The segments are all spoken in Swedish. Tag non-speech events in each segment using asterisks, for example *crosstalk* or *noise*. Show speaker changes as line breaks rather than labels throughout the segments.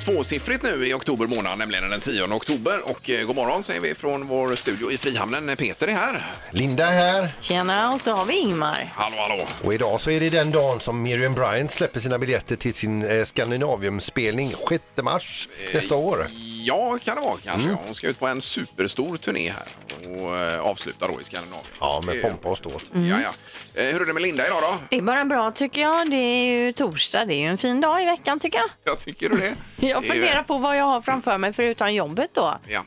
tvåsiffrigt nu i oktober månad, nämligen den 10 oktober. Och eh, god morgon säger vi från vår studio i Frihamnen. Peter är här.
Linda här
Tjena, och så har vi Ingmar.
Hallå, hallå.
och idag så är det den dagen som Miriam Bryant släpper sina biljetter till sin eh, Scandinavium-spelning 6 mars nästa år.
Ja, kan det vara kanske.
Mm.
Hon ska ut på en superstor turné här och eh, avsluta då i Skandinavien.
Ja,
Eh,
med pompa och ståt.
Ja, ja. Eh, Hur är det med Linda idag då?
Det är bara bra tycker jag. Det är ju torsdag, det är ju en fin dag i veckan tycker jag.
Jag tycker du det?
*laughs* Jag
Det är ju-
funderar på vad jag har framför mig förutom jobbet då.
Ja,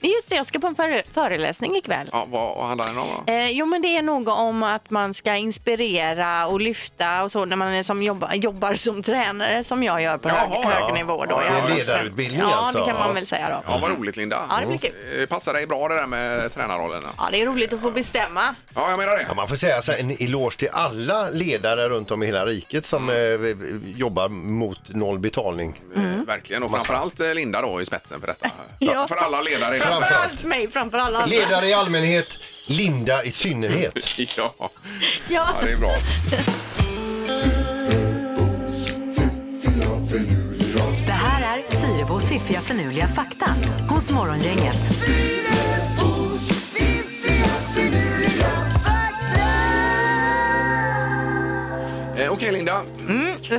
Men Just det, jag ska på en före föreläsning ikväll.
ja vad vad handlar den om då?
Eh, jo men det är något om att man ska inspirera och lyfta och så när man är som jobba, jobbar som tränare som jag gör på
Jaha,
hög,
ja.
hög nivå. Då.
Ja,
Jag
det är
har-
ledarutbildning
ja,
alltså.
Ja det kan
Ja.
man väl säga då.
Ja, vad roligt Linda.
Ja, det blir kul.
Eh, Passar dig bra det där med tränarrollerna?
Ja, det är roligt att få bestämma.
Ja, jag menar det.
Ja, man får säga så här, en eloge till alla ledare runt om i hela riket som
Mm.
eh, jobbar mot noll betalning.
Eh, Verkligen. Och framförallt eh, Linda då i spetsen för detta.
*laughs* Ja.
För alla ledare. i
Framför-
Framförallt mig, framförallt alla.
Ledare i allmänhet, Linda i synnerhet.
*laughs* Ja. ja,
Ja.
det är bra.
Det här är Fyrabos fiffiga förnuliga fakta hos Morgongänget.
Eh, Okej Linda.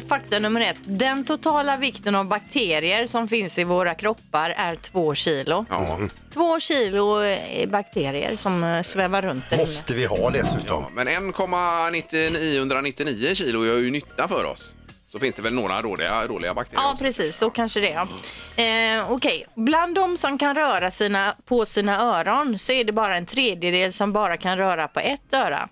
Fakta nummer ett. Den totala vikten av bakterier som finns i våra kroppar är två kilo.
Ja.
Två kilo eh, bakterier som eh, svävar runt där inne.
Måste vi ha dessutom.
Ja, men 1,999 kilo gör ju nytta för oss. Så finns det väl några dåliga, dåliga bakterier
Ja,
också.
precis. Så kanske det är. Eh, Okej, bland de som kan röra sina, på sina öron så är det bara en tredjedel som bara kan röra på ett öra.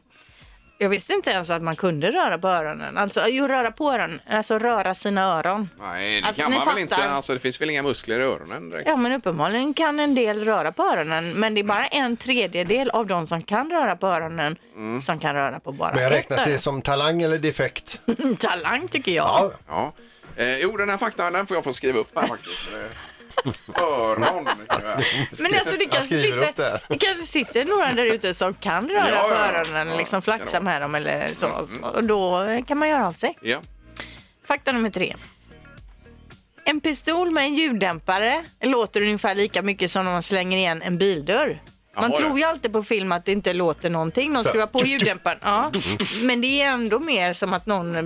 Jag visste inte ens att man kunde röra på öronen. Alltså, jo, röra på öronen. Alltså röra sina öron.
Nej, det
Alltså,
kan
ni
man väl inte.
fattar.
Alltså, det finns väl inga muskler i öronen direkt.
Ja, men uppenbarligen kan en del röra på öronen, men det är bara en tredjedel av de som kan röra på öronen som kan röra på bara
Mm. Men jag räknas det
ett
som talang eller defekt?
öron. Talang tycker jag.
Ja,
Ja. Eh, jo, den här faktan den får jag få skriva upp här faktiskt. Eh, Öron.
*laughs* Men alltså det kanske,
skriver upp det
sitter,
här.
det kanske sitter några där ute som kan röra
Ja,
på
ja, ja.
öronen,
Ja,
liksom
kan det
flaxa
vara.
med dem eller så.
Mm.
Och då kan man göra av sig.
Ja.
Fakta nummer tre. En pistol med en ljuddämpare låter ungefär lika mycket som när man slänger igen en bildörr.
Jaha,
Man
det.
tror ju alltid på film att det inte låter någonting. De
*laughs*
skruvar på ljuddämparen. Ja. Men det är ändå mer som att någon eh,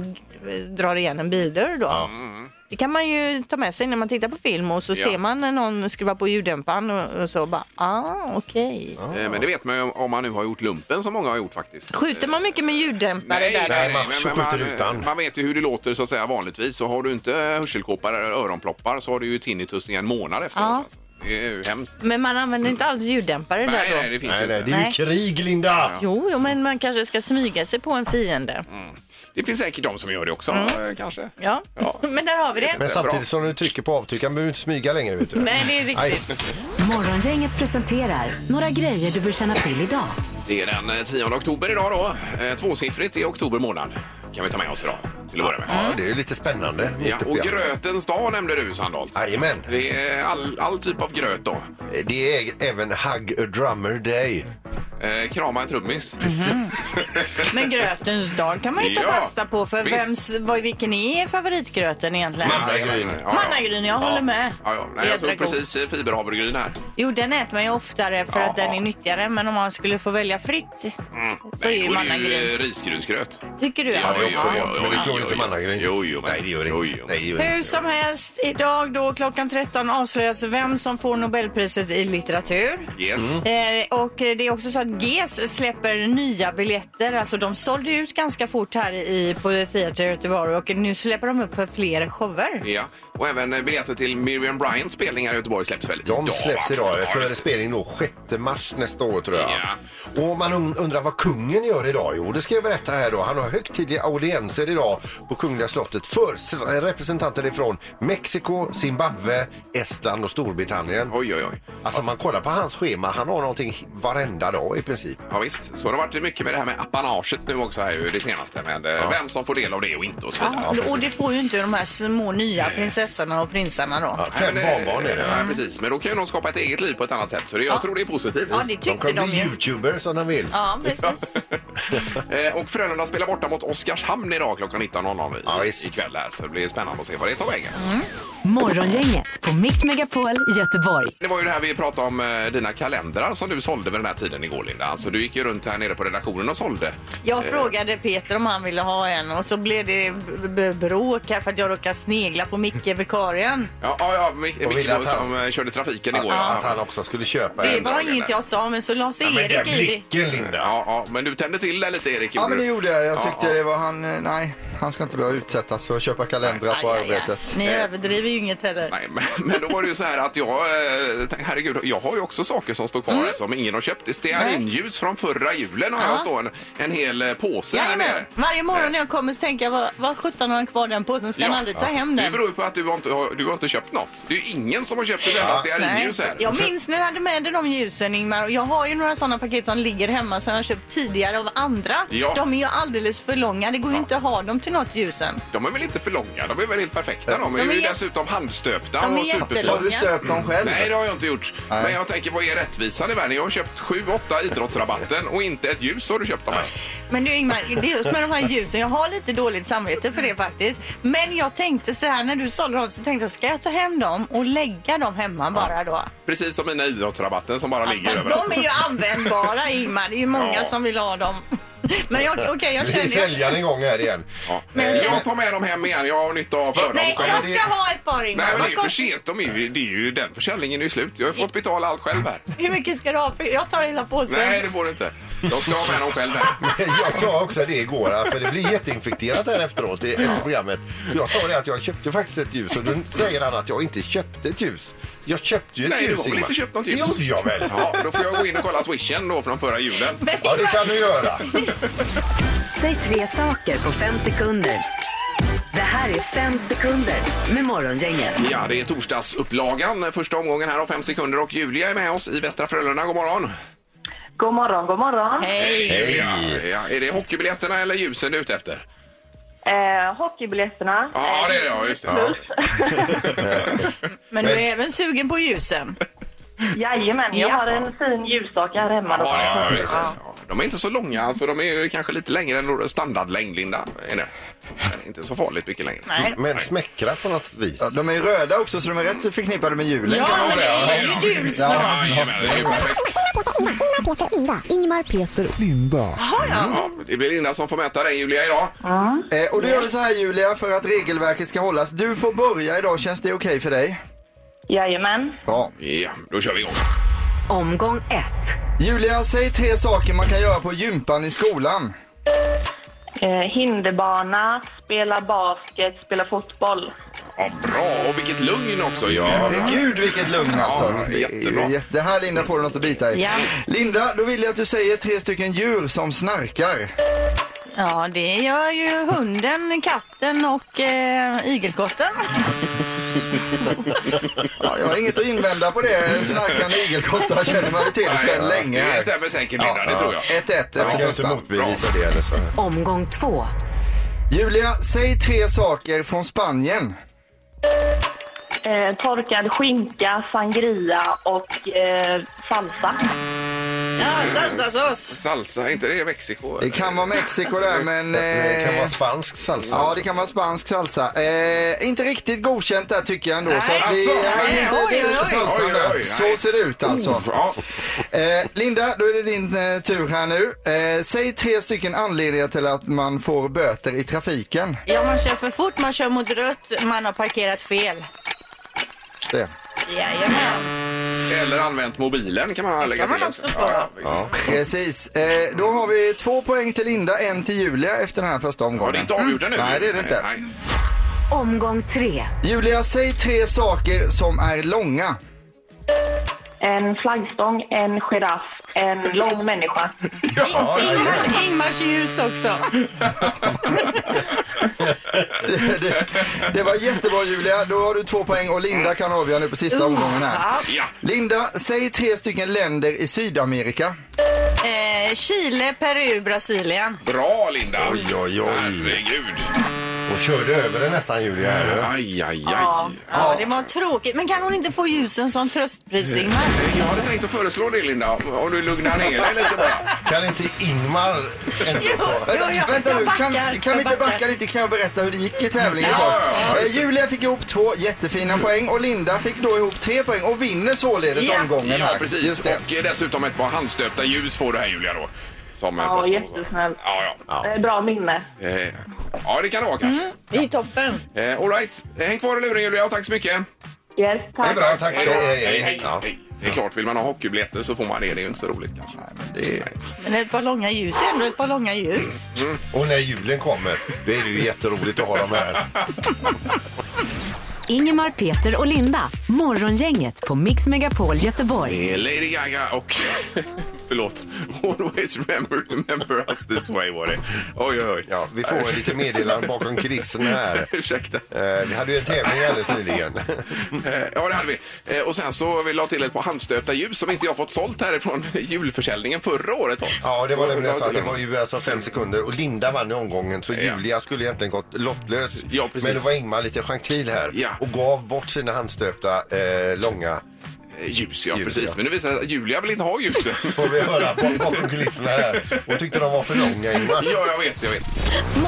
drar igen en bildörr då. Det kan man ju ta med sig när man tittar på film och så
Ja.
ser man när någon skruvar på ljuddämparen och, och så bara, ah, okej.
Eh, men det vet man ju om- om man nu har gjort lumpen som många har gjort faktiskt.
Skjuter man mycket med ljuddämpare där?
nej. man skjuter
man,
utan.
man vet ju hur det låter så att säga vanligtvis. Så har du inte hörselkåpor eller öronploppar så har du ju tinnitus i en månad efteråt.
Ja.
Alltså. Det är ju hemskt.
Men man använder inte alls ljuddämpare där
Nej,
då?
nej, det finns
nej,
ju
nej,
inte.
det är ju
Nej.
krig Linda!
Jo, jo, men man kanske ska smyga sig på en fiende.
Det finns säkert de som gör det också, eh, kanske.
Mm. Ja,
Ja.
*laughs* men där har vi det.
Bra.
Men samtidigt som du trycker på avtryckaren behöver du inte smyga längre vet du.
Nej, det är riktigt.
Nej.
Morgongänget presenterar några grejer du bör känna till idag.
Det är den eh, 10 oktober idag då. Eh, Tvåsiffrigt i oktober månad kan vi ta med oss idag till att börja med.
Mm.
Ja, det är ju lite spännande. mitt
Ja,
uppe i
och
allt.
grötens dag nämnde du Sandholt.
Jajamän.
Det är all, all typ av gröt då.
Det är även Hug a Drummer Day.
Eh, krama en trummis.
Men grötens dag kan man ju ta
Ja,
fasta på för
visst.
vems, vad, vilken är favoritgröten egentligen?
Mannagryn.
Ja, ja.
Mannagryn, jag håller med.
Ja, ja. Nej, jag
Jädra
såg
god.
precis eh, fiberhavregryn här.
Jo, den äter man ju oftare för att
Jaha.
den är nyttigare. Men om man skulle få välja fritt så är
Mm. Nej,
ju
då är det ju
mannagryn.
eh, risgrynsgröt.
Tycker du?
Ja,
att-
det är också
Ja.
gott.
Men det slår
Oj,
inte
oj,
mannagryn.
oj, jo, men-
Nej, det gör det
oj, jo, men-
Nej, det gör det
Hur som helst, idag då klockan 13 avslöjas vem som får Nobelpriset i litteratur.
Yes.
Mm.
Eh, och det är också så att GES släpper nya biljetter. Alltså de sålde ut ganska fort här i, på Theater Göteborg och nu släpper de upp för fler shower.
Ja. Och även eh, biljetter till Miriam Bryants spelning här i Göteborg släpps väl idag?
De släpps
va?
idag
Ja,
för
just det.
spelning då 6 mars nästa år tror jag.
Ja.
Och om man un- undrar vad kungen gör idag? Jo, det ska jag berätta här då. Han har högtidliga audienser idag på Kungliga slottet för s- representanter ifrån Mexiko, Zimbabwe, Estland och Storbritannien.
Oj, oj, oj.
Alltså man kollar på hans schema, han har någonting varenda dag i princip.
Ja, visst. så det har varit mycket med det här med apanaget nu också här ju, det senaste med eh, vem som får del av det och inte och så vidare.
Ja, och det får ju inte de här små nya prinsessorna och prinsarna då.
Ja, fem
Men, eh,
barnbarn är det.
Ja, precis. Men då kan ju de skapa ett eget liv på ett annat sätt. Så det, jag tror det är positivt.
Ja, det
De
tyckte
kan
de
bli
ju.
youtubers om de vill.
Ja, precis.
*laughs* Eh, och Frölunda spelar borta mot Oskarshamn idag klockan 19.00 i,
Ja, visst.
ikväll här. Så det blir spännande att se vad det tar vägen.
Morgongänget på Mix Megapol Göteborg.
Det var ju det här vi pratade om, eh, dina kalendrar som du sålde vid den här tiden igår Linda. Alltså du gick ju runt här nere på redaktionen och sålde.
Jag frågade Peter om han ville ha en och så blev det b- b- bråk här för att jag råkade snegla på Micke vikarien.
Ja, ja, ja Mic-
Och
Micke
ville att han-
som eh, körde trafiken igår.
Ja, att
Ja,
han också skulle köpa
Det
en.
var
dagen
inget
där.
jag sa men så la sig
Men den
Erik i det.
blicken Linda.
ja, ja, men du tände till det lite Erik.
Ja men det
du.
gjorde jag. Jag
Ja,
tyckte
ja.
det var han, eh, nej, han ska inte behöva utsättas för att köpa kalendrar på
Aj, aj, aj.
arbetet.
Ni överdriver ju inget heller.
Nej, men, *laughs* men då var det ju så här att jag, eh, tänkte, herregud, jag har ju också saker som står kvar
Mm.
här som ingen har köpt. Det är Stearinljus från förra julen har jag står en, en hel eh, påse här
Jajamän.
nere.
Varje morgon när jag kommer så tänker jag, vad, vad sjutton har han kvar den påsen? Ska han aldrig ta hem
Det
den?
beror ju på att du har inte har, du har inte köpt något. Det är ju ingen som har köpt ett enda
Nej.
stearinljus här.
Jag minns när du hade med dig de ljusen Ingmar och jag har ju några sådana paket som ligger hemma som jag har köpt tidigare av andra.
Ja.
De är ju alldeles för långa, det går ju
Ja.
inte att ha dem till något ljusen.
De är väl inte för långa? De är väl helt perfekta? De,
De
är ju
är jätte-
dessutom handstöpta
De är
och
jättelånga.
superfina.
Har du stöpt dem själv?
Nej, det har jag inte gjort.
Nej.
Men jag tänker, vad är rättvisan i världen? Jag har köpt sju, åtta idrottsrabatten och inte ett ljus har du köpt av mig.
Men du Ingmar, det är just med de här ljusen, jag har lite dåligt samvete för det faktiskt. Men jag tänkte så här när du sålde dem så tänkte jag, ska jag ta hem dem och lägga dem hemma bara då?
Precis som mina idrottsrabatten som bara ligger
Fast
överallt.
de är ju användbara Ingmar, det är ju många
Ja.
som vill ha dem. *laughs* Men jag, okej, jag
Nu är
känner... Jag,
säljaren igång här igen. *laughs*
Ja. Eh,
Men-
jag tar med dem hem igen. Jag har nytta av för dem.
nej,
själv.
jag ska ha ett par Ingmar.
Nej, men
Vad
det är ju för
kostar-
sent. De är ju, det är ju, den försäljningen är ju slut. Jag har ju fått betala allt själv här.
Hur mycket ska du ha? För jag tar hela påsen.
Nej, det får du inte. Jag ska ha med dem själv här.
Jag sa också det igår, för det blir jätteinfekterat här efteråt i- efter programmet. Jag sa det att jag köpte faktiskt ett ljus och då säger han att jag inte köpte ett ljus. Jag köpte ju ett
Nej,
ljus
du har väl
Ingmar.
inte köpt något ljus?
Det gjorde jag väl.
Ja, då får jag gå in och kolla swishen då från förra julen.
Ja, det kan du göra.
Säg tre saker på fem sekunder. Det här är fem sekunder med Morgongänget.
Ja, det är torsdagsupplagan, första omgången här av fem sekunder och Julia är med oss i Västra Frölunda. God morgon!
God morgon, god morgon.
Hej!
Ja, ja. Är det hockeybiljetterna eller ljusen du är ute efter?
Eh, hockeybiljetterna.
Ja, det är det. Ja, just *laughs* det.
Plus.
Men du är även sugen på ljusen.
Jajamän, jag
Ja.
har en fin ljusstake här hemma.
Ja, det, ja, visst.
Ja.
Ja, de är inte så långa, alltså, de är ju kanske lite längre än standardlängd, Linda. Är det? Men Inte så farligt mycket längre.
Nej.
Men smäckra på något vis.
Ja, de är ju röda också så de är rätt förknippade med julen.
Ja, men det
ja,
är ju jul snart.
Ja, jajamän, det är ju perfekt.
Ingmar, Peter och
Ja, det blir Linda som får möta dig, Julia, idag.
Eh, och då gör vi så här Julia, för att regelverket ska hållas. Du får börja idag, känns det okej för dig?
Jajamän.
Ja.
Ja, då kör vi igång.
Omgång ett.
Julia, säg tre saker man kan göra på gympan i skolan.
Eh, hinderbana, spela basket, spela fotboll.
Ja, bra, och vilket lugn också. Ja,
Gud vilket lugn alltså.
Ja,
Det är
jättebra.
ju jätte- Det här Linda får du något att bita i.
Ja.
Linda, då vill jag att du säger tre stycken djur som snarkar.
Ja, det gör ju hunden, katten och eh, igelkotten.
Ja, jag har inget att invända på det. Snarkande igelkottar känner man ju till sedan länge.
Det stämmer säkert, Linda. Det tror jag.
1-1 efter
Jag kan inte
första.
motbevisa det eller så.
Eh.
Omgång två.
Julia, säg tre saker från Spanien.
Eh, torkad skinka, sangria och eh, salsa.
Ja, salsasås.
Salsa, är inte det i Mexiko?
Det kan vara Mexiko där, men...
Det kan
eh,
vara spansk salsa.
Ja, det kan vara spansk salsa. Eh, inte riktigt godkänt där tycker jag ändå. Så att vi,
Alltså,
nej,
nej,
inte,
oj,
det är
oj,
inte
oj.
salsan
Oj, oj,
där.
oj, nej. Oh.
Så ser det ut alltså.
Ja.
Eh, Linda, då är det din eh, tur här nu. Eh, säg tre stycken anledningar till att man får böter i trafiken.
Ja, man kör för fort, man kör mot rött, man har parkerat fel.
Det.
Jajamän.
Eller använt mobilen kan man lägga
kan
till
man också få.
Ja, visst. ja.
Precis. Eh, då har vi två poäng till Linda, en till Julia efter den här första
Har
omgången. Mm.
det är inte avgjort ännu?
Nej, det är det inte.
Nej.
Omgång tre.
Julia, säg tre saker som är
*laughs*
långa.
En flaggstång, en giraff, en lång människa.
Ja, ja, ja.
Ingmar, Ingmars ljus också.
Det, det, det var jättebra Julia. Då har du två poäng och
Mm.
Linda kan avgöra nu på sista omgången här.
Ja.
Ja.
Linda, säg tre stycken länder i Sydamerika.
Eh, Chile, Peru, Brasilien.
Bra, Linda!
Oj, oj, oj.
Herregud.
Och körde över den nästan Julia. här.
Aj, aj, aj.
Ja, ja, det var tråkigt. Men kan hon inte få ljusen som tröstpris, Ingmar?
Jag hade tänkt att föreslå det Linda, om- om du lugnar ner dig lite bara.
Kan inte Ingmar ändå få...
Vänta,
Jo, jag-
vänta
jag
nu, kan,
backar,
kan
jag
vi inte backa
backar.
lite kan jag berätta hur det gick i tävlingen
Ja,
först.
ja, ja,
Eh,
just det.
Julia fick ihop två jättefina poäng och Linda fick då ihop tre poäng och vinner således
Ja.
omgången här.
Ja, precis.
Just det.
Och eh, dessutom ett par handstöpta ljus får du här Julia då. Som en
Ja,
påstående.
jättesnällt.
Ja, ja.
Eh, Bra minne.
Eh, ja, det kan det vara kanske.
Det är toppen.
Eh, all right. Eh, Häng kvar i luren Julia och tack så mycket.
Yes,
Det
tack.
är bra, tack. Eh,
då.
Hej, hej, hej.
hej.
Ja.
hej. Det är klart, vill man ha hockeybiljetter så får man det. Det är ju inte så roligt kanske. Nej, men det...
Men ett par långa ljus är ändå ett par långa ljus.
Och när julen kommer, då är det ju jätteroligt att ha dem här.
Ingemar, Peter och Linda. Morgongänget på Mix Megapol Göteborg.
Det är Lady Gaga och... *laughs* Förlåt. Always remember, remember us this way var det. Oj, oj, oj.
Ja, vi får lite meddelanden bakom kulisserna här.
*laughs* Ursäkta.
Eh, vi hade ju en tävling alldeles nyligen.
Eh, Ja, det hade vi. Eh, Och sen så vill jag till ett par handstöpta ljus som inte jag fått sålt härifrån julförsäljningen förra året. Då.
Ja, det var nämligen så att det var ju alltså fem sekunder och Linda vann i omgången så
Ja.
Julia skulle egentligen gått lottlös.
Ja, precis.
Men det var Ingmar lite gentil här
Ja.
och gav bort sina handstöpta eh, långa.
Eh, Ljus, ja
Ljus,
precis.
ja.
Men nu visar det sig att Julia vill inte ha
*laughs*
ljusen.
Får vi höra bak- bakom kulisserna här. Hon tyckte de var för långa
ja,
Ingmar.
jag vet, jag vet.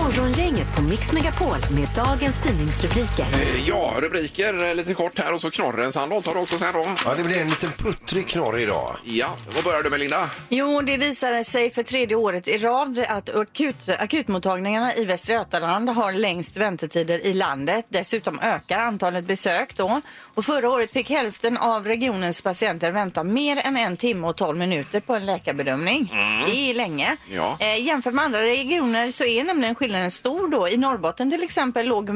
Morgongänget på Mix Megapol med dagens tidningsrubriker.
Eh, Ja, rubriker eh, lite kort här och så knorrens handboll tar du också sen då.
Ja, det blev en liten puttrig knorr idag.
Ja, vad börjar du med Linda?
Jo, det visar sig för tredje året i rad att akut, akutmottagningarna i Västra Götaland har längst väntetider i landet. Dessutom ökar antalet besök då. Och förra året fick hälften av regionens patienter vänta mer än en timme och 12 minuter på en läkarbedömning. Det är länge.
Ja.
Eh, jämfört med andra regioner så är nämligen skillnaden stor då. I Norrbotten till exempel låg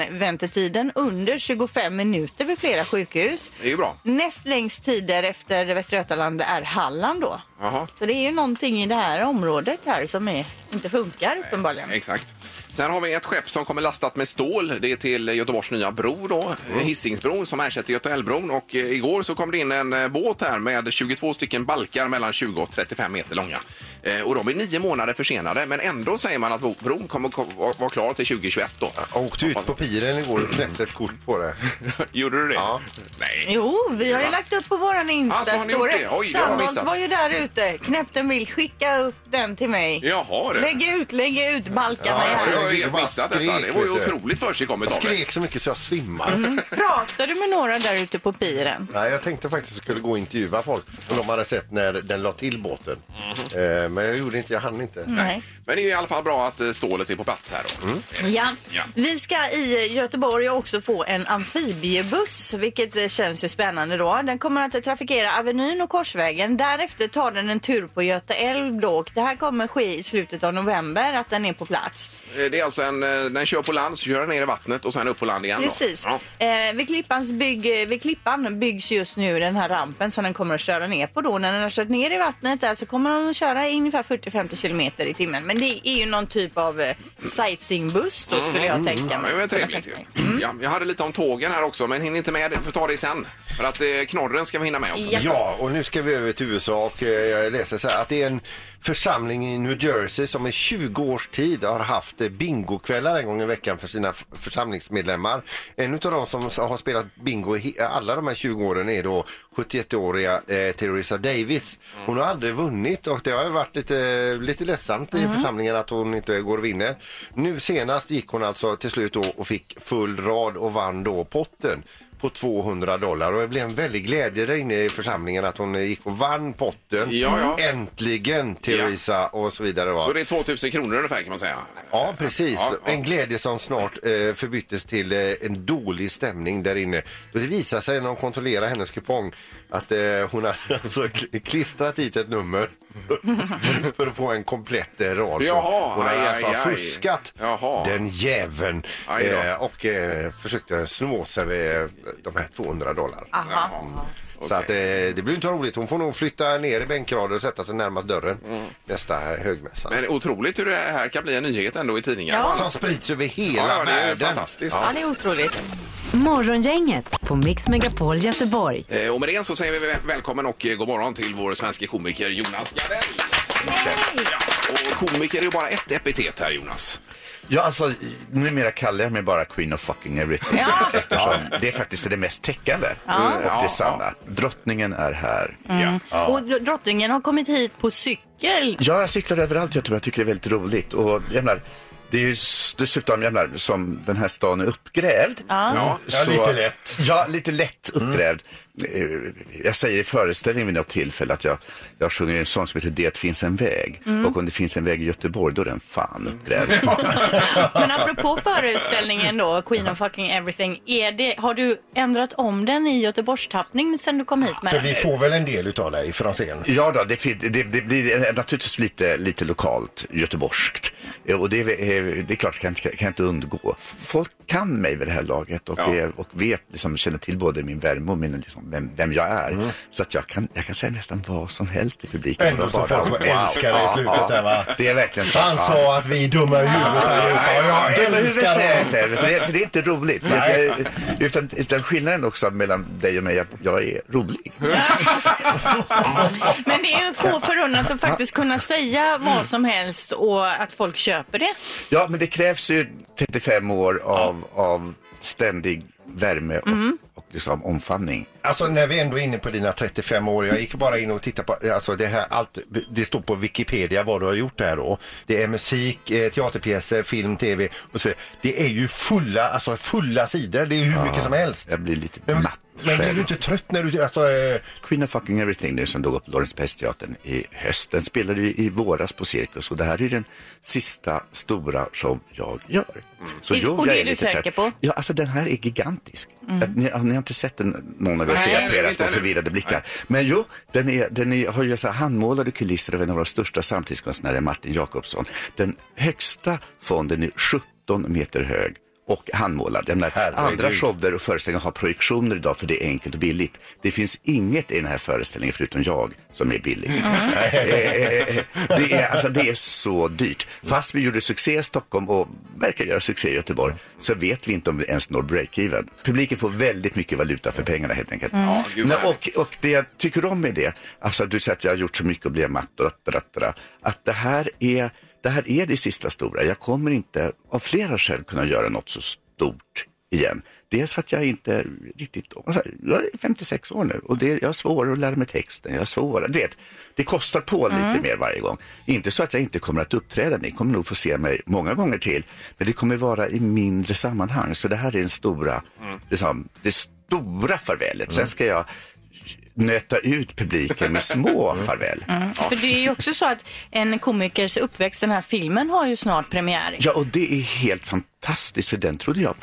medianväntetiden under 25 minuter vid flera sjukhus.
Det är ju bra.
Näst längst tid efter Västra Götaland är Halland då.
Jaha.
Så det är ju någonting i det här området här som är, inte funkar uppenbarligen.
Exakt. Sen har vi ett skepp som kommer lastat med stål. Det är till Göteborgs nya bro då,
Mm.
Hisingsbron som ersätter Götaälvbron. Och eh, igår så kom det in en eh, båt här med 22 stycken balkar mellan 20 och 35 meter långa. Eh, Och de är nio månader försenade men ändå säger man att bo- bron kommer ko- va- vara klar till 2021 då.
Jag åkte ut på piren igår och knäppte ett kort på det.
*laughs* Gjorde du det?
Ja.
Nej.
Jo, vi har ju lagt upp på våran
Alltså, har ni
Insta-story.
gjort det? Oj, det har jag
Sandholt
missat.
var ju där ute, knäppte en bild, skicka upp den till mig.
Jaha du.
Lägg ut, lägg ut balkarna
Ja,
Jag
här.
har ju helt
Bara
missat detta.
skrek,
Det var ju
vet du.
otroligt försigkommet
Jag
av dig.
skrek så mycket så jag svimmade.
Pratar du med några där ute på piren?
Nej, jag tänkte faktiskt att jag skulle gå och intervjua folk om de hade sett när den la till båten. Eh, men jag gjorde inte, jag hann inte.
Nej.
Men det är ju i alla fall bra att eh, stålet är på plats här då.
Mm.
Ja.
Ja.
Vi ska i Göteborg också få en amfibiebuss, vilket eh, känns ju spännande då. Den kommer att trafikera Avenyn och Korsvägen. Därefter tar den en tur på Göta älv då. Och Det här kommer ske i slutet av november, att den är på plats.
Eh, Det är alltså en, eh, den kör på land, så kör den ner i vattnet och sen upp på land igen. då.
Precis.
Ja.
Eh, vid, Klippans bygg, eh, vid Klippan byggs just nu den här rampen som den kommer att köra ner på. Då. När den har kört ner i vattnet där så kommer den att köra i ungefär 40-50 kilometer i timmen. Men det är ju någon typ av eh, sightseeingbuss då skulle jag tänka
Mm. Ja,
mig.
det var trevligt ju. Ja, jag hade lite om tågen här också, men hinner inte med det. Får ta det sen. För att eh, knorren ska vi hinna med också.
Ja.
Ja, och nu ska vi över till USA och eh, jag läser så här att det är en församling i New Jersey som i 20 års tid har haft eh, bingokvällar en gång i veckan för sina f- församlingsmedlemmar. En av de som s- har spelat bingo i he- alla de här 20 åren är då 71-åriga eh, Theresa Davis. Hon har aldrig vunnit och det har ju varit lite, lite ledsamt i församlingen att hon inte går och vinner. Nu senast gick hon alltså till slut då och fick full rad och vann då potten på 200 dollar och det blev en väldig glädje där inne i församlingen att hon gick och vann potten.
Ja, ja.
Äntligen Theresa och så vidare. Va?
Så det är 2000 kronor ungefär kan man säga.
Ja, precis.
Ja, ja.
En glädje som snart eh, förbyttes till eh, en dålig stämning där inne. Och det visade sig när de kontrollerade hennes kupong att eh, hon hade *laughs* alltså k- klistrat dit ett nummer *laughs* för att få en komplett eh, rad. Så
Jaha,
hon hade
aj,
alltså
aj, aj.
fuskat
Jaha.
den jäveln
Aj då.
eh, och eh, försökte sno åt sig eh, de här 200 dollar.
Aha.
Så att, eh, det blir inte roligt. Hon får nog flytta ner i bänkrader och sätta sig närmast dörren nästa högmässa.
Mm. Men otroligt hur det här kan bli en nyhet ändå i tidningar.
Ja.
Som sprids över hela
Ja, det är ju
världen.
fantastiskt.
Ja, det är otroligt.
Morgongänget på Mix Megapol Göteborg.
Eh, Och med det så säger vi väl- välkommen och eh, god morgon till vår svenska komiker Jonas Gardell. Och komiker är ju bara ett epitet här Jonas.
Ja, alltså, numera kallar jag mig bara Queen of fucking everything.
Ja.
Eftersom det är faktiskt det mest täckande och det sanna. Drottningen är här.
Ja. Och dr- drottningen har kommit hit på
*laughs*
cykel.
Ja, jag cyklar överallt i Göteborg. Jag tycker det är väldigt roligt. Och jag menar, det är ju s- dessutom, jag menar, som den här stan är uppgrävd.
Ja.
så-
lite lätt. Mm.
Ja, lite lätt uppgrävd. Eh, Jag säger i föreställningen vid något tillfälle att jag, jag sjunger en sång som heter Det finns en väg.
Mm.
Och om det finns en väg i Göteborg, då är den fan uppgrävd.
Men apropå föreställningen då, Queen of fucking everything, är det, har du ändrat om den i Göteborgstappning sen du kom hit med
För
den?
vi får väl en del utav dig Franzén?
Ja, då, det, fin- det, det blir naturligtvis lite, lite lokalt göteborgskt. Eh, Och det, är- det är klart, kan, inte- kan jag inte undgå. Folk kan mig vid det här laget och,
Ja.
är, och vet, liksom, känner till både min värme och min, liksom, vem, vem jag är. Så att jag kan, jag kan säga nästan vad som helst i publiken.
Mm. Ändå
Och
står
bara-
folk och älskar dig i slutet där va?
Det är verkligen sant.
Han
va?
sa att vi är dumma i huvudet allihopa.
Ja,
Jag
Dumma huvud säger jag
älskar dem.
inte, för det, för det är inte roligt. Men att
Nej.
jag, utan, utan skillnaden också mellan dig och mig är att jag är rolig.
Men det är ju få förunnat att faktiskt kunna säga vad som helst och att folk köper det.
Ja, men det krävs ju 35 år av, av ständig värme och, och liksom omfamning.
Alltså när vi ändå är inne på dina 35 år. Jag gick bara in och tittade på, alltså det här allt, det står på Wikipedia vad du har gjort där då. Det är musik, eh, teaterpjäser, film, tv och så vidare. Det är ju fulla, alltså fulla sidor. Det är ju hur mycket som helst.
Jag blir lite
Men,
matt
men blir
själv.
du inte trött när du, alltså, eh,
Queen of fucking everything nu som dog upp på Lorensbergsteatern i höst. Den spelade ju i våras på Cirkus och det här är ju den sista stora show jag gör. Så
Är- och det är du
lite
säker
trött.
på?
Ja, alltså den här är gigantisk. Att Ni, ni har inte sett den, någon av er
Nej,
ser
det
på
vet
era
jag
små
nu.
förvirrade blickar. Men jo, den, är, den är, har ju så här handmålade kulisser av en av våra största samtidskonstnärer, Martin Jakobsson. Den högsta fonden är 17 meter hög och handmålad. Jag menar, andra shower och föreställningar har projektioner idag för det är enkelt och billigt. Det finns inget i den här föreställningen förutom jag som är billig.
Mm.
Eh, eh, eh, det, är, alltså, det är så dyrt. Fast vi gjorde succé i Stockholm och verkar göra succé i Göteborg så vet vi inte om vi ens når break-even. Publiken får väldigt mycket valuta för pengarna helt enkelt.
Mm. gud,
Nej,
vad
och, och det jag tycker om med det, alltså du säger att jag har gjort så mycket och blir matt och rattarattara, att det här är det här är det sista stora. Jag kommer inte av flera skäl kunna göra något så stort igen. Dels för att jag inte riktigt, alltså, jag är 56 år nu och det, jag har svårare att lära mig texten. Jag har svårare, du vet, det kostar på lite mer varje gång. Inte så att jag inte kommer att uppträda, ni kommer nog få se mig många gånger till, men det kommer vara i mindre sammanhang. Så det här är den stora, liksom, det stora farvälet. Sen ska jag nöta ut publiken med små farväl.
För det är ju också så att en komikers uppväxt, den här filmen har ju snart premiär.
Ja, och det är helt fantastiskt för den trodde jag.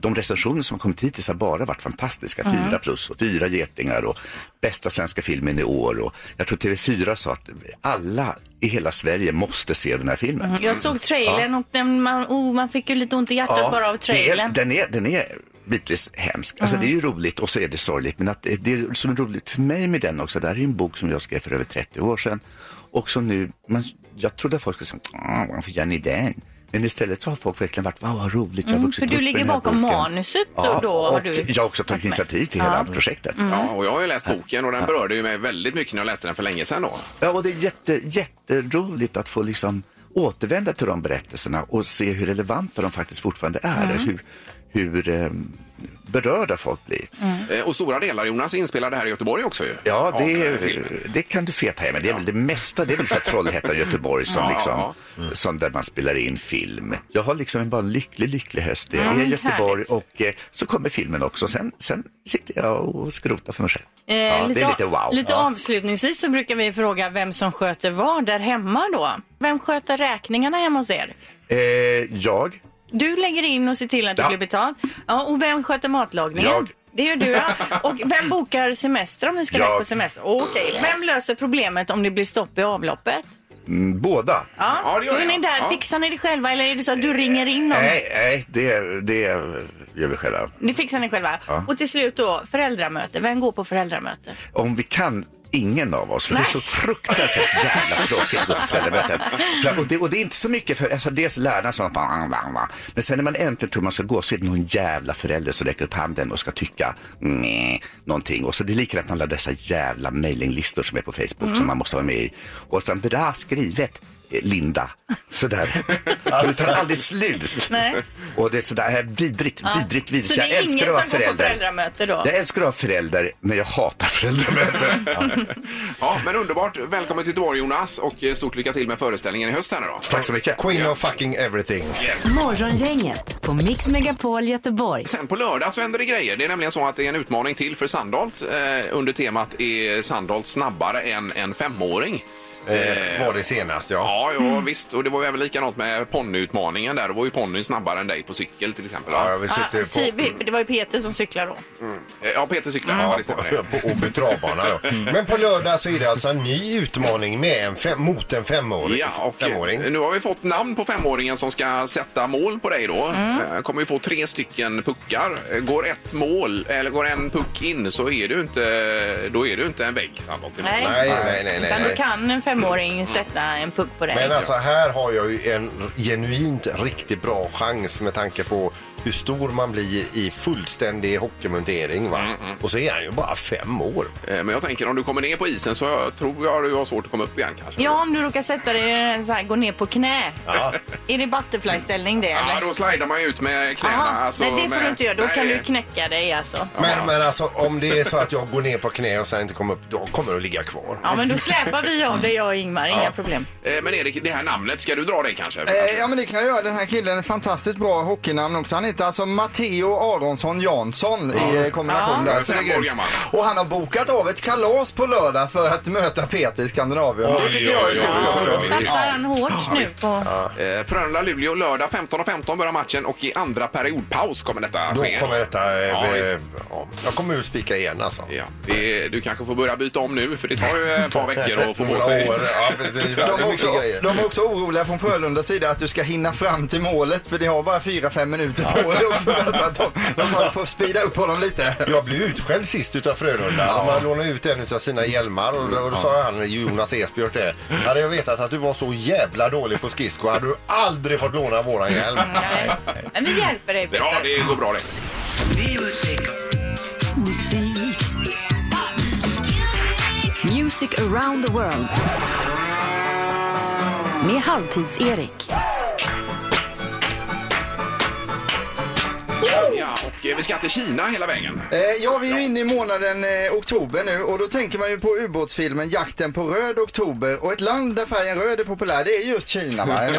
De recensioner som har kommit hittills har bara varit fantastiska. Fyra plus och fyra getingar och bästa svenska filmen i år. Och jag tror TV4 sa att alla i hela Sverige måste se den här filmen.
Jag såg trailern och den, man, oh, man fick ju lite ont i hjärtat bara av
det är-
trailern.
Den är, den är bitvis hemsk. Alltså det är ju roligt och så är det sorgligt. Men att det- det som är roligt för mig med den också, det här är ju en bok som jag skrev för över 30 år sedan. Och som nu, man, jag trodde att folk skulle säga, "Åh, varför gör ni den? Men istället så har folk verkligen varit, wow vad roligt, jag har vuxit
Mm, för du
upp med
ligger
den här
bakom
boken."
manuset och
ja,
då har
och
du
Jag har också
varit med.
tagit initiativ till hela projektet.
Mm.
Ja, och jag har ju läst boken och den berörde ju mig väldigt mycket när jag läste den för länge sedan då.
Ja, och det är jätte, jätteroligt att få liksom återvända till de berättelserna och se hur relevanta de faktiskt fortfarande är. Hur, hur eh, berörda folk blir.
Eh, Och stora delar Jonas inspelade här i Göteborg också ju.
Ja,
Av
det,
den här filmen.
är, det kan du feta hem. men Det är väl det mesta. Det är väl så här Trollhättan, Göteborg som,
Ja,
liksom,
ja.
som där man spelar in film. Jag har liksom en bara lycklig, lycklig höst. Jag är i
men
Göteborg och eh, så kommer filmen också. Sen, sen sitter jag och skrotar för mig själv.
Eh,
ja, det är lite wow.
lite
ja.
avslutningsvis så brukar vi fråga vem som sköter vad där hemma då. Vem sköter räkningarna hemma hos er?
eh, jag,
Du lägger in och ser till att det
Ja.
blir betalt. Ja, och vem sköter matlagningen?
Jag.
Det gör du, ja. Och vem bokar semester om ni ska
Jag.
iväg på semester? Okej. Vem löser problemet om det blir stopp i avloppet?
mm, båda.
Ja,
Ja, det gör
Då är
jag.
ni där.
Ja.
Fixar ni det själva eller är det så att du ringer in någon?
Eh, Nej, nej det, det gör vi själva.
Det fixar ni själva. Och till slut då, föräldramöte. Vem går på föräldramöte?
Om vi kan ingen av oss. För det är så fruktansvärt jävla tråkigt att gå på föräldramöten. För- Och det, och det är inte så mycket för, alltså dels lärarna som bara, "Bang, bang, bang." men sen när man äntligen tror man ska gå så är det någon jävla förälder som räcker upp handen och ska tycka nej, någonting. Och så det är likadant med alla dessa jävla mailinglistor som är på Facebook
Mm.
som man måste vara med i. Och sen bra skrivet. eh, Linda, sådär. Ja, Det tar aldrig slut.
Nej.
Och det är sådär här vidrigt, vidrigt, vidrigt.
Så det
Jag
är
älskar
ingen
att
som
vara
går på
förälder.
föräldramöte då?
Jag älskar att vara förälder, men jag hatar föräldramöten.
Ja, men underbart. Välkommen till Göteborg Jonas och eh, stort lycka till med föreställningen i höst här nu då.
Tack så mycket.
Queen of fucking everything.
Morgongänget på Mix Megapol Göteborg.
Sen på lördag så händer det grejer. Det är nämligen så att det är en utmaning till för Sandholt eh, under temat är Sandholt snabbare än en femåring?
Eh, var det senast, ja.
Ja, ja visst. Och det var ju även likadant med ponnyutmaningen där. Då var ju ponnyn snabbare än dig på cykel till exempel.
ja
va?
vi
Ja,
sitter på...
typ, det var ju Peter som cyklade då.
Eh, ja Peter cyklar. Ja, det stämmer.
Ja,
det.
på Åby travbana. då. Men på lördag så är det alltså en ny utmaning med en fem, mot en femåring.
Ja, och
femåring.
eh, nu har vi fått namn på femåringen som ska sätta mål på dig då.
Mm.
Eh, Kommer ju få tre stycken puckar. Eh, Går ett mål, eller går en puck in så är du inte, då är du inte en vägg Sandholt.
Nej.
Nej, nej, nej. nej,
Utan då
nej.
kan en femåring sätta en puck på dig.
Men alltså här har jag ju en genuint riktigt bra chans med tanke på hur stor man blir i fullständig hockeymontering. Va?
Mm,
Och så är han ju bara fem år.
Eh, Men jag tänker om du kommer ner på isen så jag tror jag du har svårt att komma upp igen kanske.
Ja, om du råkar sätta dig så här, gå ner på knä.
Ja.
Är det butterfly-ställning det
Ja,
eller?
då slidar man ju ut med knäna.
Jaha,
alltså,
nej, det får
med-
du inte göra. Då
Nej.
kan du knäcka dig alltså.
Men, men alltså om det är så att jag går ner på knä och sen inte kommer upp, då kommer jag att ligga kvar.
Ja, men då släpar vi av dig, jag och Ingmar. Inga problem.
Eh, Men Erik, det här namnet, ska du dra det kanske?
Eh, ja men det kan jag göra. Den här killen är fantastiskt bra hockeynamn också. Han heter alltså Matteo Aronsson Jansson i eh, kombination
Ja.
där. Så det är
Fem år
grymt.
gammal.
Och han har bokat av ett kalas på lördag för att möta Peter i Skandinavien.
Oj,
det tycker jag är
oj,
stort.
oj, oj, oj.
också.
Satsar han hårt nu på...
Eh, Frölunda-Luleå lördag 15.15 börjar matchen och i andra periodpaus kommer detta
Då
ske.
kommer detta... eh,
Ja,
eh,
visst.
ja, jag kommer att spika igen alltså.
Ja, det, du kanske får börja byta om nu för det tar ju eh, ett par veckor att få på
Några
sig.
år, Ja,
*laughs*
precis.
De
Det är
är,
mycket
också,
grejer.
de är också oroliga från Frölundas sida att du ska hinna fram till målet för ni har bara 4-5 minuter på er också. *laughs* Så att de, de sa att du får speeda upp honom lite.
Jag blev utskälld sist utav Frölunda. De hade lånat ut en utav sina hjälmar och då, och då sa han, Jonas Esbjörn det. Hade jag vetat att du var så jävla dålig på skridsko hade du aldrig fått låna våran hjälm.
Nej. Men vi hjälper dig Peter.
Ja, det går bra det.
Music around the world. Med Halvtids-Erik.
Ja, och eh, vi ska till Kina hela vägen.
Eh, ja, vi är ju inne i månaden eh, oktober nu och då tänker man ju på ubåtsfilmen Jakten på röd oktober och ett land där färgen röd är populär det är just Kina.
*laughs*
Va? Eller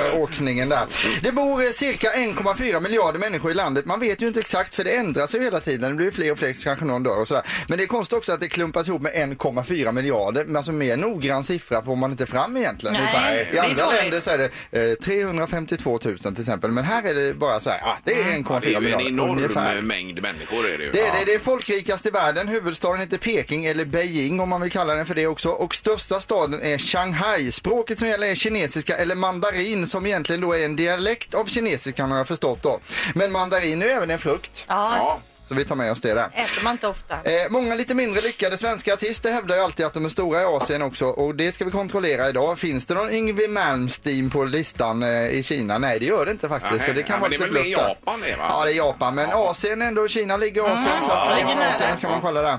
den, eh, åkningen där. Det bor eh, cirka 1,4 miljarder människor i landet. Man vet ju inte exakt för det ändras ju hela tiden. Det blir ju fler och fler, så kanske någon dör och sådär. Men det är konstigt också att det klumpas ihop med 1,4 miljarder. Men alltså mer noggrann siffra får man inte fram egentligen.
Nej, det
I
är
andra
dåligt.
länder så är det eh, 352 000 till exempel. Men här är det bara så här, ah, det är 1,4
Mm. Ja, det är ju en
miljarder
enorm eh,
ungefär.
mängd människor. Är det, ju.
Det är,
Ja.
det, det är folkrikast i världen. Huvudstaden heter Peking eller Beijing om man vill kalla den för det också. Och största staden är Shanghai. Språket som gäller är kinesiska eller mandarin som egentligen då är en dialekt av kinesiskan har jag förstått då. Men mandarin är ju även en frukt.
Ja,
Ja.
Så vi tar med oss det där.
äter man inte ofta.
Eh, många lite mindre lyckade svenska artister hävdar ju alltid att de är stora i Asien också och det ska vi kontrollera idag. Finns det någon Yngwie Malmsteen på listan eh, i Kina? Nej det gör det inte faktiskt.
Nej,
så det kan
ja,
vara
men det
lite
är väl med
bluff där.
Japan det, va?
Ja det är Japan men Asien ändå, Kina ligger i
Ah.
Asien så att säga.
ligger nära.
Asien kan man kolla där. Eh,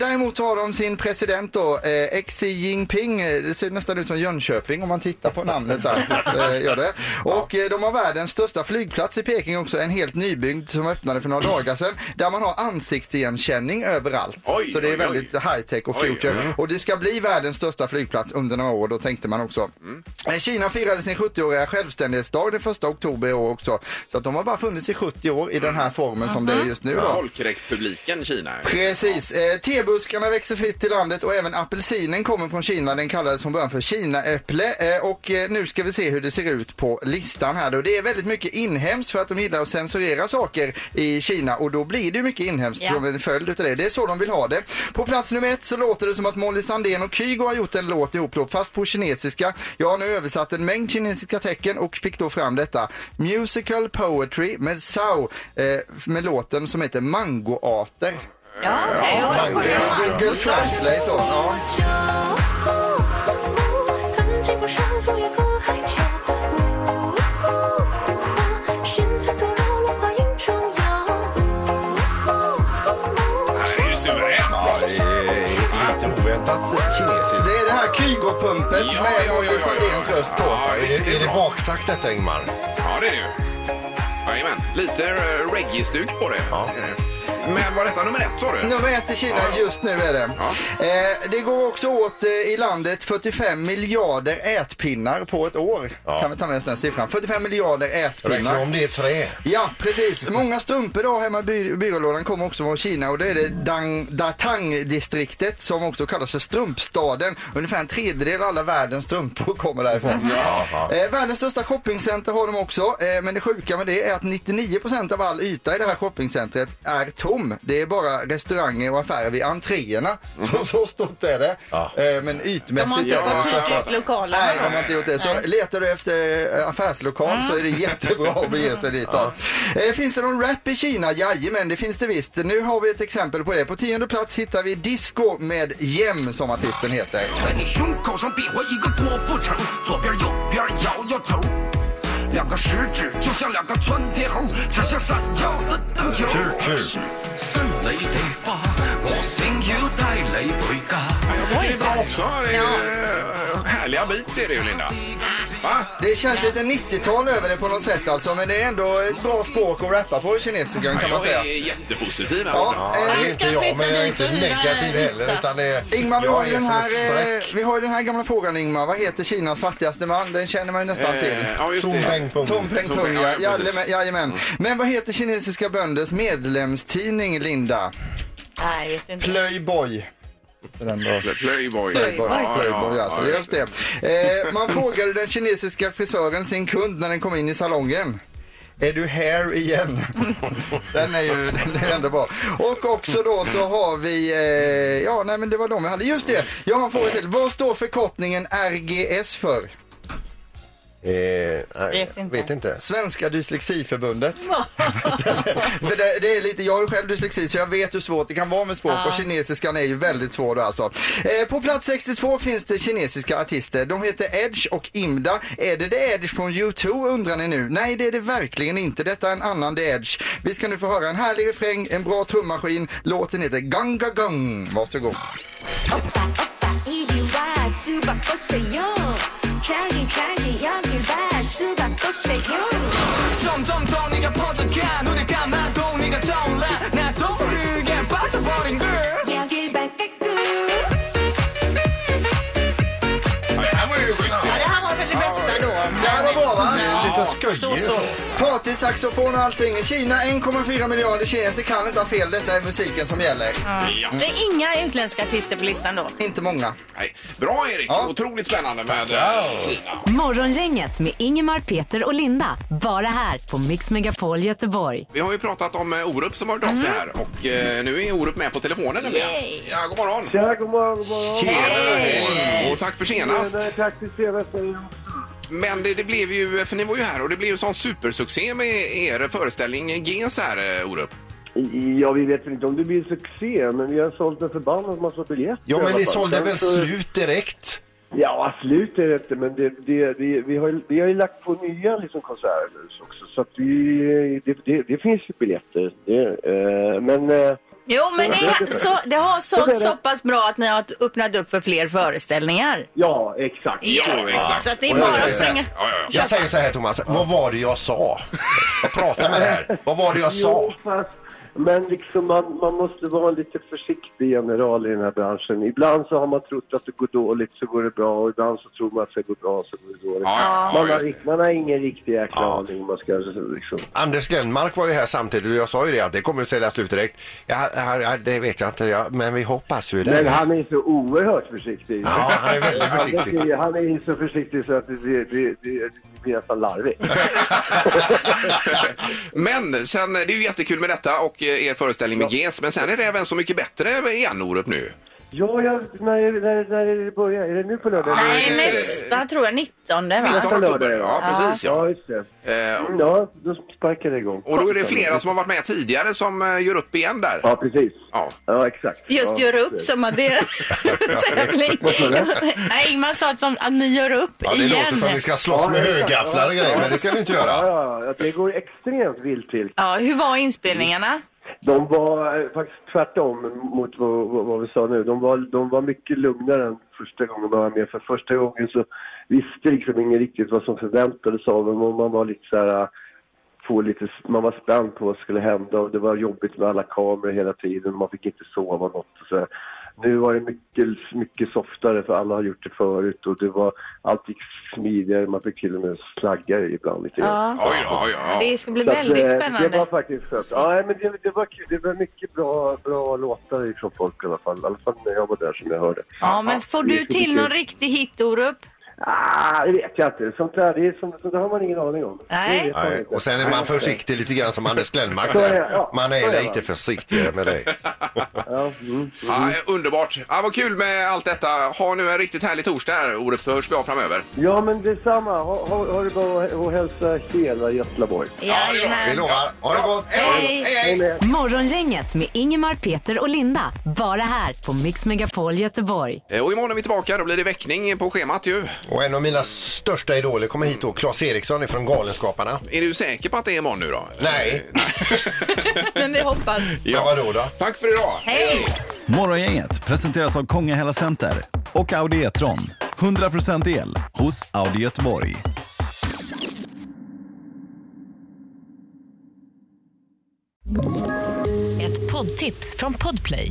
däremot har de sin president då, eh, Xi Jinping. Eh, Det ser nästan ut som Jönköping om man tittar på namnet
*laughs*
där. Eh, gör det. Och eh, de har världens största flygplats i Peking också, en helt nybyggd som öppnade för några dagar sedan. Där man har ansiktsigenkänning överallt.
Oj,
så det är
oj,
väldigt
oj.
high tech och
Oj,
future.
oj.
Och det ska bli världens största flygplats under några år, då tänkte man också. Eh, Kina firade sin 70-åriga självständighetsdag den 1 oktober i år också. Så att de har bara funnits i 70 år i den här formen som det är just nu då.
Folkrepubliken Kina.
Precis. Eh, tebuskarna växer fritt i landet och även apelsinen kommer från Kina. Den kallades från början för Kinaäpple. Eh, och eh, nu ska vi se hur det ser ut på listan här då. Det är väldigt mycket inhemskt för att de gillar att censurera saker i Kina och då blir det ju mycket inhemskt
Ja.
som en följd utav det. Det är så de vill ha det. På plats nummer ett så låter det som att Molly Sandén och Kygo har gjort en låt ihop då, fast på kinesiska. Jag har nu översatt en mängd kinesiska tecken och fick då fram detta. Musical Poetry med Sao eh, med låten som heter Mangoarter.
Ja, okej. ja, det var det.
Google Translate då. Ja.
Det är ju suveränt.
Ja, det är lite oväntat kinesiskt.
Det är det här Kygo-pumpet
Ja,
med
ja, ja,
Molly
ja,
Sandéns
ja.
röst på.
Ja,
Är det, är det
bra.
baktakt detta Ingmar?
Ja, det är det ju. Jajamän. Lite eh, reggae-stuk på det. Men var detta nummer ett sa du?
Nummer ett i Kina just nu är det. Eh, det går också åt eh, i landet 45 miljarder ätpinnar på ett år. Kan vi ta med oss den siffran? 45 miljarder ätpinnar.
Räkna om det är trä.
Ja, precis. Många strumpor då hemma i by- byrålådan kommer också från Kina och det är det Dang, Datang-distriktet som också kallas för strumpstaden. Ungefär en tredjedel av alla världens strumpor kommer därifrån. Eh, världens största shoppingcenter har de också, eh, men det sjuka med det är att 99% av all yta i det här shoppingcentret är tom. Det är bara restauranger och affärer vid entréerna. Så stort är det. Eh, men
De har
ytmässigt
inte
är det
fått
så-
ut lokalerna.
Nej, de har inte gjort det. Så letar du efter eh, affärslokal så är det jättebra att bege sig dit. då. Eh, Finns det någon rap i Kina? Jajamän, det finns det visst. Nu har vi ett exempel på det. På tionde plats hittar vi Disco med Jem som artisten heter.
在你胸口上比划一个郭富城，左边右边摇摇头，两个食指就像两个窜天猴，指向闪耀的灯球。
是是
新你哋花，我想要帶你回家。
Jag tycker det är bra också. Det är, eh, Härliga beats är det ju, Linda. Va?
Det känns lite 90-tal över det på något sätt alltså, men det är ändå ett bra språk att rappa på kinesiskan kan man
Jag
säga.
är jättepositiv här
Ja,
borta.
eh,
Det är inte jag, men jag är inte
Jag ska flytta dit och
negativ
hyra
heller.
yta.
Utan det är,
Ingmar, vi
jag
har, ju
är
den
som
här,
ett
eh,
streck.
vi har ju den här gamla frågan Ingmar. Vad heter Kinas fattigaste man? Den känner man ju nästan till.
Eh, Ja, just
Tom Peng
det.
Pong.
Tom Peng
Tom
Pung,
Peng,
ja,
ja, ja, precis.
jajamän, jajamän. Men vad heter kinesiska bönders medlemstidning, Linda?
Nej, jag vet inte.
Plöjboj. Den då. Playboy,
Playboy. Ja,
Playboy,
ja,
alltså,
ja,
just det. Eh, man frågade den kinesiska frisören sin kund när den kom in i salongen. Är du här igen? Den är ju den är ändå bra. Och också då så har vi, eh, ja nej men det var de vi hade. Just det, jag har en fråga till. Vad står förkortningen RGS för?
Eh, nej,
Vet inte.
Vet inte.
Svenska
*laughs*
dyslexiförbundet. *laughs* För det, det är lite, jag har ju själv dyslexi så jag vet hur svårt det kan vara med språk och kinesiskan är ju väldigt svår då alltså. Eh, på plats 62 finns det kinesiska artister. De heter Edge och Imda. Är det The Edge från U2 undrar ni nu? Nej det är det verkligen inte. Detta är en annan The Edge. Vi ska nu få höra en härlig refräng, en bra trummaskin. Låten heter Ganga Gang. Varsågod.
점점더 네가 퍼져가 눈을 감아도 네가 떠올라 나도 모르게 빠져버린 girl.
Ja, Det här var ju schysst.
Ja, det här var väl det bästa då.
Det här var bra va?
Lite skojig
så,
och
så.
så.
Party, saxofon och allting. I Kina 1,4 miljarder kineser kan inte ha fel. Detta är musiken som gäller.
Ja.
Det är inga utländska artister på listan då.
Inte många.
Nej. Bra, Erik.
Ja.
Otroligt spännande med eh, Kina.
Morgongänget med Ingemar, Peter och Linda. Bara här på Mix Megapol Göteborg.
Vi har ju pratat om eh, Orup som har hört av
Mm.
sig här och eh, nu är Orup med på telefonen nämligen.
Yay.
Ja, god morgon!
Ja, god morgon, god morgon.
Hej. Och tack för senast.
Nej, tack till senast.
Men det, det blev ju, för ni var ju här och det blev ju sån supersuccé med er föreställning Gens här, eh, Orup.
Ja, vi vet väl inte om det blir en succé, men vi har sålt en förbannad massa biljetter.
Ja,
i
men
alla
ni
fall.
sålde
Sen
väl
så-
slut direkt?
Ja, slut är det inte, men det, det, det, vi, har, ju- vi har ju lagt på nya liksom, konserter nu också. Så att vi, det, det, det finns ju biljetter. Det, eh, men eh,
Jo, men det, är, så, det har
Det
sålt
är det.
så pass bra att ni har öppnat upp för fler föreställningar.
ja, exakt.
Ja, exakt.
Så att det är bara att
säger
springa.
Ja, ja, ja.
Jag säger så här Thomas, vad var det jag sa? Jag pratar med det här. Vad var det jag sa?
Jo, fast, men liksom man, man måste vara en lite försiktig general i den här branschen. Ibland så har man trott att det går dåligt så går det bra och ibland så tror man att det går bra så går det dåligt.
Ja, ja, ja,
man, har,
just det.
rikt- man har ingen riktig jäkla aning. Man ska liksom...
Anders Glenmark var ju här samtidigt och jag sa ju det att det kommer att sälja slut direkt. Ja, ja, ja, det vet jag inte, ja, men vi hoppas ju det.
Men han är så oerhört försiktig.
Ja, han är väldigt försiktig.
Han är, han är så försiktig så att det, det, det, det blir nästan larvigt.
*laughs* Men sen, det är ju jättekul med detta och eh, er föreställning med Gens, men sen är det även Så mycket bättre igen, Orup, nu.
Ja, jag, när, när, när är det börjar? Är det nu på lördag?
Nej, nästa tror jag. 19 va?
Nästa
oktober, ja,
Ja.
precis. Ja.
Ja, just det.
Eh,
Mm, Ja, då sparkar det igång.
Och då är det flera som har varit med tidigare som eh, gör upp igen där.
Ja, precis.
Ja.
Ja, exakt.
Just
ja,
gör upp som att det är tävling. Nej, Ingmar sa att, som, att ni gör upp
Ja, det
igen.
låter som vi ska slåss med högafflar och grejer, men det ska vi inte
Ja,
göra.
ja, ja, det går extremt vilt till.
Ja, hur var inspelningarna?
De var eh, faktiskt tvärtom mot vad, vad, vad vi sa nu. De var, de var mycket lugnare än första gången man var med. För första gången så visste liksom ingen riktigt vad som förväntades av en. Och Man var lite så här, eh, få lite, man var spänd på vad som skulle hända och det var jobbigt med alla kameror hela tiden. Man fick inte sova något och så där. Nu var det mycket, mycket softare för alla har gjort det förut och det var, allt gick smidigare. Man fick till och med slagga ibland lite grann.
Ja.
Oj, ja, ja.
Det ska bli
Så att, eh,
väldigt
Det var
spännande.
faktiskt skönt. Ja, nej, men det, det var kul. Det var mycket bra, bra låtar från folk i alla fall. I alla fall när jag var där som jag hörde.
Ja, men får
det är
du till
kul.
någon riktig hit, Orup?
Ah, det vet jag inte. Sånt där, det, är, som- sånt där har man ingen aning om.
Nej.
Det vet man
Nej.
inte.
Och sen är man försiktig lite grann som Anders Glenmark
Så är det,
där.
ja.
Man
Så är
är
det,
lite
va?
försiktigare med dig.
Ja, mm.
Ja, eh, underbart! Ja, vad kul med allt detta. Ha nu en riktigt härlig torsdag här, Orup, så hörs vi av framöver.
ja, men detsamma. Ha, ha, ha det bra och- och hälsa hela Göteborg.
Vi
Jajamän.
lovar. Ha det gott!
Hej!
Hej med er.
Morgongänget med Ingemar, Peter och Linda. Bara här på Mix Megapol Göteborg.
Eh, Och imorgon är vi tillbaka. Då blir det väckning på schemat ju.
Och en av mina största idoler kommer hit då, Claes Eriksson från Galenskaparna.
Är du säker på att det är imorgon nu då?
Nej,
Men vi hoppas.
ja. men vadå då?
Tack för idag!
Hej!
Morgongänget presenteras av Kongahälla alltså Center och Audi E-tron. 100% el hos Audi Göteborg.
Ett poddtips från Podplay.